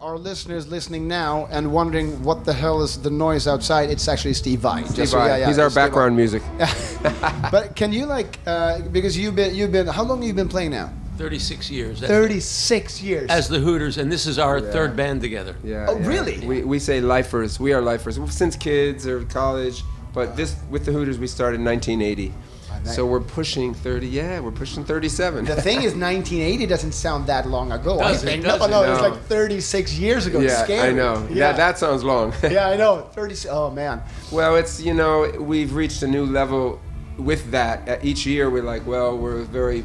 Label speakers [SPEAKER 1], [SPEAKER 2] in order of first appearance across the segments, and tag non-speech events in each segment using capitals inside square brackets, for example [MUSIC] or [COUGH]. [SPEAKER 1] our listeners listening now and wondering what the hell is the noise outside, it's actually Steve Vai. Just Oh, so-
[SPEAKER 2] Right.
[SPEAKER 1] yeah, yeah,
[SPEAKER 2] He's our
[SPEAKER 1] Steve Vai. [LAUGHS]
[SPEAKER 2] background music.
[SPEAKER 1] But can you like uh, because you've been you've been how long have you been playing now?
[SPEAKER 3] 36 years. That's-
[SPEAKER 1] Thirty six years.
[SPEAKER 3] As the Hooters, and this is our third band together.
[SPEAKER 2] Yeah.
[SPEAKER 1] Oh,
[SPEAKER 2] yeah.
[SPEAKER 1] really?
[SPEAKER 2] We, we say lifers. We are lifers since kids or college. But this with the Hooters, we started in 1980.
[SPEAKER 1] nice.
[SPEAKER 2] So we're pushing 30. Yeah, we're pushing 37.
[SPEAKER 1] the thing is, 1980 doesn't sound that long ago. I
[SPEAKER 3] Doesn't,
[SPEAKER 1] think
[SPEAKER 3] doesn't,
[SPEAKER 1] no, no, it's
[SPEAKER 2] no.
[SPEAKER 1] like 36 years ago. It's
[SPEAKER 2] [LAUGHS] yeah,
[SPEAKER 1] scary.
[SPEAKER 2] I know.
[SPEAKER 1] Yeah,
[SPEAKER 2] That, that sounds long.
[SPEAKER 1] [LAUGHS] yeah, I know. 30. Oh man.
[SPEAKER 2] Well, it's you know we've reached a new level with that. Uh, Each year we're like, well, we're very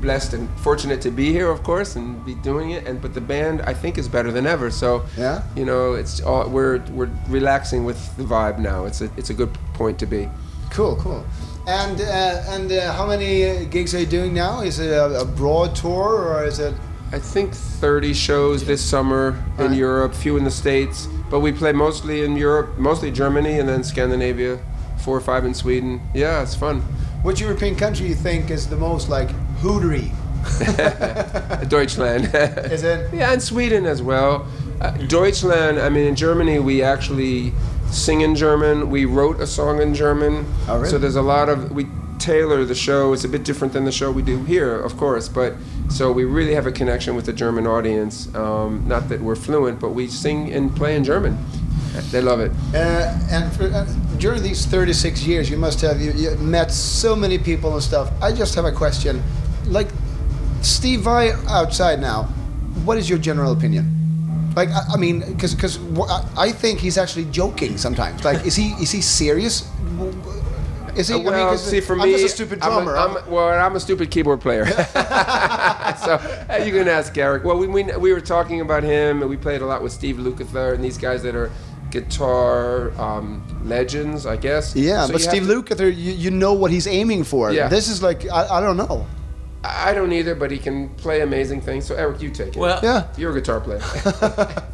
[SPEAKER 2] blessed and fortunate to be here, of course, and be doing it. And but the band, I think, is better than ever. So
[SPEAKER 1] Yeah?
[SPEAKER 2] you know, it's all, we're we're relaxing with the vibe now. It's a it's a good point to be.
[SPEAKER 1] Cool, cool. And uh, and uh, how many uh, gigs are you doing now? Is it a, a broad tour or is it?
[SPEAKER 2] I think 30 shows this summer in
[SPEAKER 1] Right.
[SPEAKER 2] Europe, few in the States, but we play mostly in Europe, mostly Germany, and then Scandinavia, four or five in Sweden. Yeah, it's fun.
[SPEAKER 1] [LAUGHS]
[SPEAKER 2] [LAUGHS]
[SPEAKER 1] Which European country you think is the most like hootery? [LAUGHS] Uh,
[SPEAKER 2] [LAUGHS] Deutschland.
[SPEAKER 1] Is it?
[SPEAKER 2] Yeah, and Sweden as well. Uh, Deutschland, I mean, in Germany, we actually sing in German. We wrote a song in German.
[SPEAKER 1] Oh, really?
[SPEAKER 2] So there's a lot of, we tailor the show. It's a bit different than the show we do here, of course, but so we really have a connection with the German audience. Um, not that we're fluent, but we sing and play in German. They love it.
[SPEAKER 1] Uh, and for, uh, during these 36 years, you must have you, you met so many people and stuff. I just have a question. Like, Steve Vai outside now, what is your general opinion? Like, I, I mean, because because I, I think he's actually joking sometimes. Like, is he is he serious? W- w- Is he?
[SPEAKER 2] Uh,
[SPEAKER 1] I mean,
[SPEAKER 2] well,
[SPEAKER 1] 'cause
[SPEAKER 2] see, for
[SPEAKER 1] I'm
[SPEAKER 2] me,
[SPEAKER 1] just a stupid
[SPEAKER 2] I'm
[SPEAKER 1] drummer.
[SPEAKER 2] I'm
[SPEAKER 1] I'm-
[SPEAKER 2] well, I'm a stupid keyboard
[SPEAKER 1] [LAUGHS]
[SPEAKER 2] player. [LAUGHS] so uh, you can ask Eric. Well, we, we we were talking about him, and we played a lot with Steve Lukather and these guys that are guitar um, legends, I guess.
[SPEAKER 1] yeah,
[SPEAKER 2] So
[SPEAKER 1] but
[SPEAKER 2] you have
[SPEAKER 1] Steve
[SPEAKER 2] to-
[SPEAKER 1] Lukather, you, you know what he's aiming for.
[SPEAKER 2] Yeah.
[SPEAKER 1] This is like I, I don't know.
[SPEAKER 2] I I don't either, but he can play amazing things. So Eric, you take it.
[SPEAKER 3] Well,
[SPEAKER 1] Yeah.
[SPEAKER 2] you're a guitar player. [LAUGHS]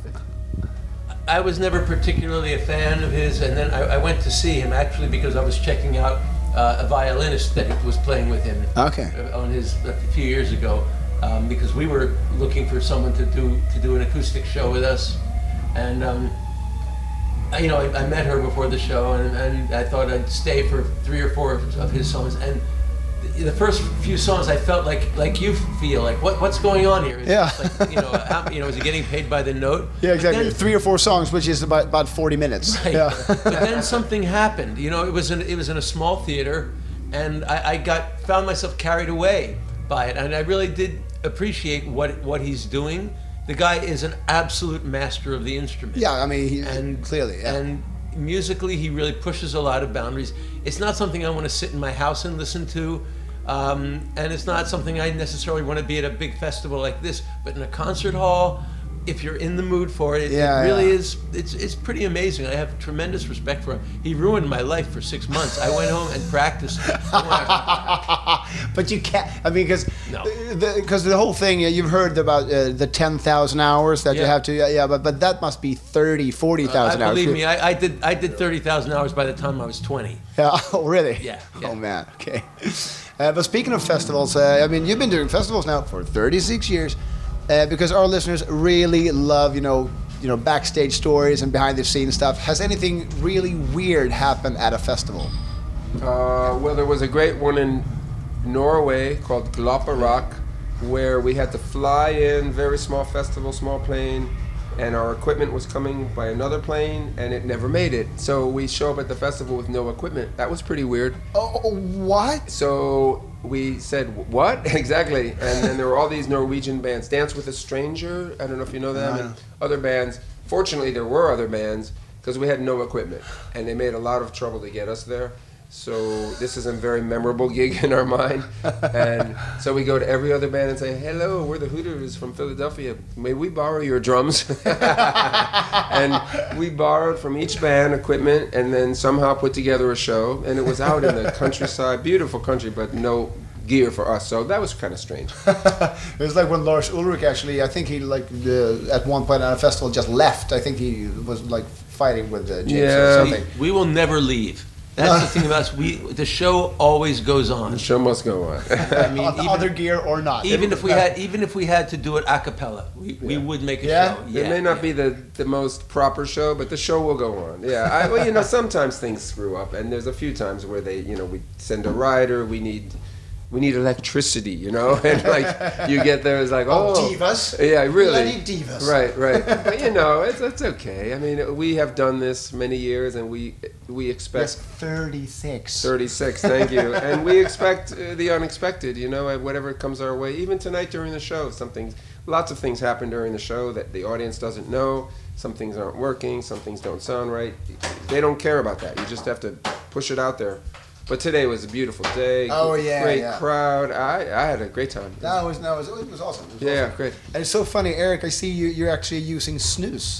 [SPEAKER 3] I was never particularly a fan of his, and then I, I went to see him actually because I was checking out uh, a violinist that was playing with him.
[SPEAKER 1] Okay.
[SPEAKER 3] uh, On his a few years ago, um, because we were looking for someone to do to do an acoustic show with us, and um, I, you know I, I met her before the show, and, and I thought I'd stay for three or four of his songs, and the, the first few songs I felt like like you feel like what what's going on here? Is
[SPEAKER 1] Yeah.
[SPEAKER 3] this Like, you know, how, you know, is he getting paid by the note?
[SPEAKER 1] [LAUGHS] Yeah,
[SPEAKER 3] But
[SPEAKER 1] exactly.
[SPEAKER 3] then-
[SPEAKER 1] Three or four songs, which is about about 40 minutes.
[SPEAKER 3] [LAUGHS] Right.
[SPEAKER 1] Yeah.
[SPEAKER 3] but then something happened. You know, it was in, it was in a small theater, and I, I got found myself carried away by it, and I really did appreciate what what he's doing. The guy is an absolute master of the instrument.
[SPEAKER 1] Yeah, I mean, he,
[SPEAKER 3] and
[SPEAKER 1] clearly, yeah.
[SPEAKER 3] and musically he really pushes a lot of boundaries. It's not something I want to sit in my house and listen to. Um, and it's not something I necessarily want to be at a big festival like this, but in a concert hall, if you're in the mood for it, it-
[SPEAKER 1] Yeah,
[SPEAKER 3] it really
[SPEAKER 1] yeah.
[SPEAKER 3] is. It's it's pretty amazing. I have tremendous respect for him. He ruined my life for six months. I went home and
[SPEAKER 1] [LAUGHS]
[SPEAKER 3] practiced.
[SPEAKER 1] [LAUGHS] but you can't. I mean, because
[SPEAKER 3] No.
[SPEAKER 1] because the, whole thing uh, you've heard about uh, the ten thousand hours that you
[SPEAKER 3] Yeah. Uh,
[SPEAKER 1] have to. Yeah, yeah, but but that must be 30, 40,000
[SPEAKER 3] I,
[SPEAKER 1] hours.
[SPEAKER 3] believe me, I, I did I did thirty thousand hours by the time I was twenty.
[SPEAKER 1] Yeah. [LAUGHS] Oh, really?
[SPEAKER 3] Yeah,
[SPEAKER 1] Oh
[SPEAKER 3] yeah.
[SPEAKER 1] man. Okay. Uh, but speaking of festivals, uh, I mean, you've been doing festivals now for 36 years, uh, because our listeners really love, you know, you know, backstage stories and behind the scenes stuff. Has anything really weird happened at a festival?
[SPEAKER 2] Uh, well, there was a great one in Norway called Glopperock, where we had to fly in, very small festival, small plane, and our equipment was coming by another plane, and it never made it. So we show up at the festival with no equipment. That was pretty weird.
[SPEAKER 1] Oh, oh, what?
[SPEAKER 2] So we said, "What [LAUGHS] exactly?" And then there were all these Norwegian bands, Dance with a Stranger. I don't know if you know them, and other bands. Fortunately, there were other bands because we had no equipment, and they made a lot of trouble to get us there. So this is a very memorable gig in our mind, and so we go to every other band and say, "Hello, we're the Hooters from Philadelphia. May we borrow your drums?" [LAUGHS] and we borrowed from each band equipment and then somehow put together a show and it was out in the countryside beautiful country but no gear for us so that was kind of strange
[SPEAKER 1] [LAUGHS]
[SPEAKER 2] [LAUGHS]
[SPEAKER 1] It was like when Lars Ulrich actually, I think he like uh, at one point at a festival just left. I think he was like fighting with uh, James or
[SPEAKER 2] Yeah.
[SPEAKER 1] something.
[SPEAKER 3] We will never leave. That's the thing about us. We the show always goes on.
[SPEAKER 2] The show must go on. [LAUGHS]
[SPEAKER 3] I mean,
[SPEAKER 4] Oth-
[SPEAKER 3] even,
[SPEAKER 4] other gear or not.
[SPEAKER 3] even if we
[SPEAKER 1] Uh,
[SPEAKER 3] had even if we had to do it a cappella, we, we would make a
[SPEAKER 4] Yeah?
[SPEAKER 3] show.
[SPEAKER 2] It may not be the, the most proper show, but the show will go on. Yeah, I, well, you know, sometimes things screw up, and there's a few times where they, you know, we send a rider, we need, we need electricity, you know, [LAUGHS] and like you get there, it's like, oh,
[SPEAKER 1] divas.
[SPEAKER 2] yeah, really,
[SPEAKER 1] Bloody divas.
[SPEAKER 2] right,
[SPEAKER 1] [LAUGHS]
[SPEAKER 2] right. But you know, it's it's okay. I mean, we have done this many years, and we we expect
[SPEAKER 4] That's 36.
[SPEAKER 2] 36 thank you and we expect uh, the unexpected you know and whatever comes our way even tonight during the show something lots of things happen during the show that the audience doesn't know some things aren't working some things don't sound right they don't care about that you just have to push it out there but today was a beautiful day
[SPEAKER 1] Oh, yeah,
[SPEAKER 2] great
[SPEAKER 1] yeah.
[SPEAKER 2] crowd i i had a great time
[SPEAKER 1] That was, that was, it was awesome. It was
[SPEAKER 2] yeah
[SPEAKER 1] awesome.
[SPEAKER 2] great
[SPEAKER 1] And it's so funny, Eric, I see you, you're actually using snooze.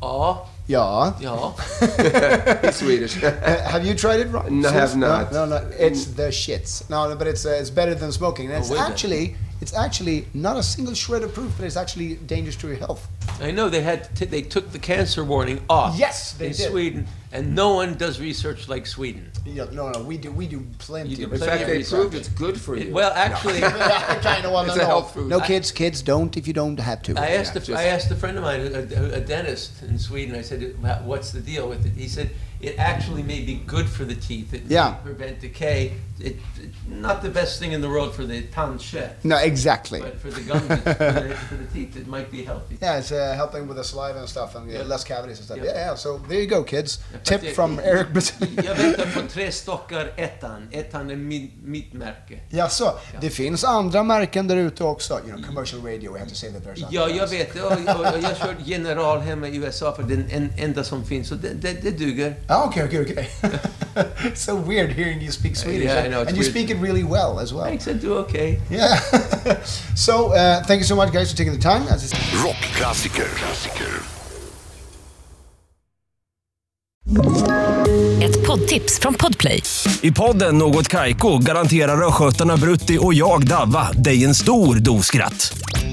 [SPEAKER 3] Oh,
[SPEAKER 1] Yeah.
[SPEAKER 3] yeah.
[SPEAKER 2] [LAUGHS] He's
[SPEAKER 1] [LAUGHS]
[SPEAKER 2] swedish
[SPEAKER 1] Uh, have you tried it, Rob?
[SPEAKER 2] No, I have not. Mm.
[SPEAKER 1] No, no, it's the shits. No, no but it's uh, it's better than smoking.
[SPEAKER 2] Oh,
[SPEAKER 1] And it's
[SPEAKER 3] wait a minute.
[SPEAKER 1] actually it's actually not a single shred of proof, but it's actually dangerous to your health.
[SPEAKER 3] I know they had t- they took the cancer warning off.
[SPEAKER 1] Yes, they
[SPEAKER 3] in
[SPEAKER 1] did.
[SPEAKER 3] Sweden, and no one does research like Sweden.
[SPEAKER 1] Yeah, no, no, we do we do plenty.
[SPEAKER 3] You
[SPEAKER 1] of
[SPEAKER 2] in
[SPEAKER 3] do
[SPEAKER 1] it. [LAUGHS]
[SPEAKER 3] plenty
[SPEAKER 2] fact
[SPEAKER 3] of
[SPEAKER 2] they
[SPEAKER 3] research.
[SPEAKER 2] proved it's good for you
[SPEAKER 3] Well, actually,
[SPEAKER 4] I kind of want
[SPEAKER 2] it's
[SPEAKER 4] to
[SPEAKER 2] a
[SPEAKER 4] know.
[SPEAKER 2] health food
[SPEAKER 1] no, kids, kids don't if you don't have to.
[SPEAKER 3] I asked a,
[SPEAKER 2] just-
[SPEAKER 3] I asked a friend of mine, a, a dentist in Sweden. I said, "Wha- "What's the deal with it?" He said, "It actually may be good for the teeth. It may
[SPEAKER 1] Yeah.
[SPEAKER 3] prevent decay. It, it- not the best thing in the world for the tonsure,
[SPEAKER 1] no, exactly.
[SPEAKER 3] but for the gums, for, the, for the teeth, it might be healthy."
[SPEAKER 1] Yeah, it's uh, helping with the saliva and stuff, and yeah,
[SPEAKER 3] Yeah.
[SPEAKER 1] less cavities and stuff.
[SPEAKER 3] Yeah.
[SPEAKER 1] Yeah, yeah. So there you go, kids.
[SPEAKER 3] but
[SPEAKER 1] Tip
[SPEAKER 3] they- [LAUGHS]
[SPEAKER 1] from Eric [LAUGHS] Brazil.
[SPEAKER 3] Jag väntar på tre stockar ettan. Ettan är min, mitt märke.
[SPEAKER 1] Ja, så det finns andra märken där ute också. You know, commercial radio, we have to say that there's
[SPEAKER 3] Ja,
[SPEAKER 1] other
[SPEAKER 3] jag
[SPEAKER 1] ones.
[SPEAKER 3] vet det. Och, och, och jag kör General hemma i USA för den en, enda som finns. Så det, det, det duger.
[SPEAKER 1] Oh, okay, okay, okay. [LAUGHS] it's so weird hearing you speak Swedish.
[SPEAKER 3] Yeah, I
[SPEAKER 1] and-
[SPEAKER 3] know, it's
[SPEAKER 1] And you
[SPEAKER 3] weird.
[SPEAKER 1] speak it really well as well.
[SPEAKER 3] Jag said du okej.
[SPEAKER 1] Yeah. [LAUGHS] so, uh, thank you so much, guys, for taking the time. As I-
[SPEAKER 5] Rockklassiker. Klassiker.
[SPEAKER 6] Ett poddtips från Podplay.
[SPEAKER 7] I podden Något Kaiko garanterar östgötarna Brutti och jag, Davva, dig en stor dos skratt.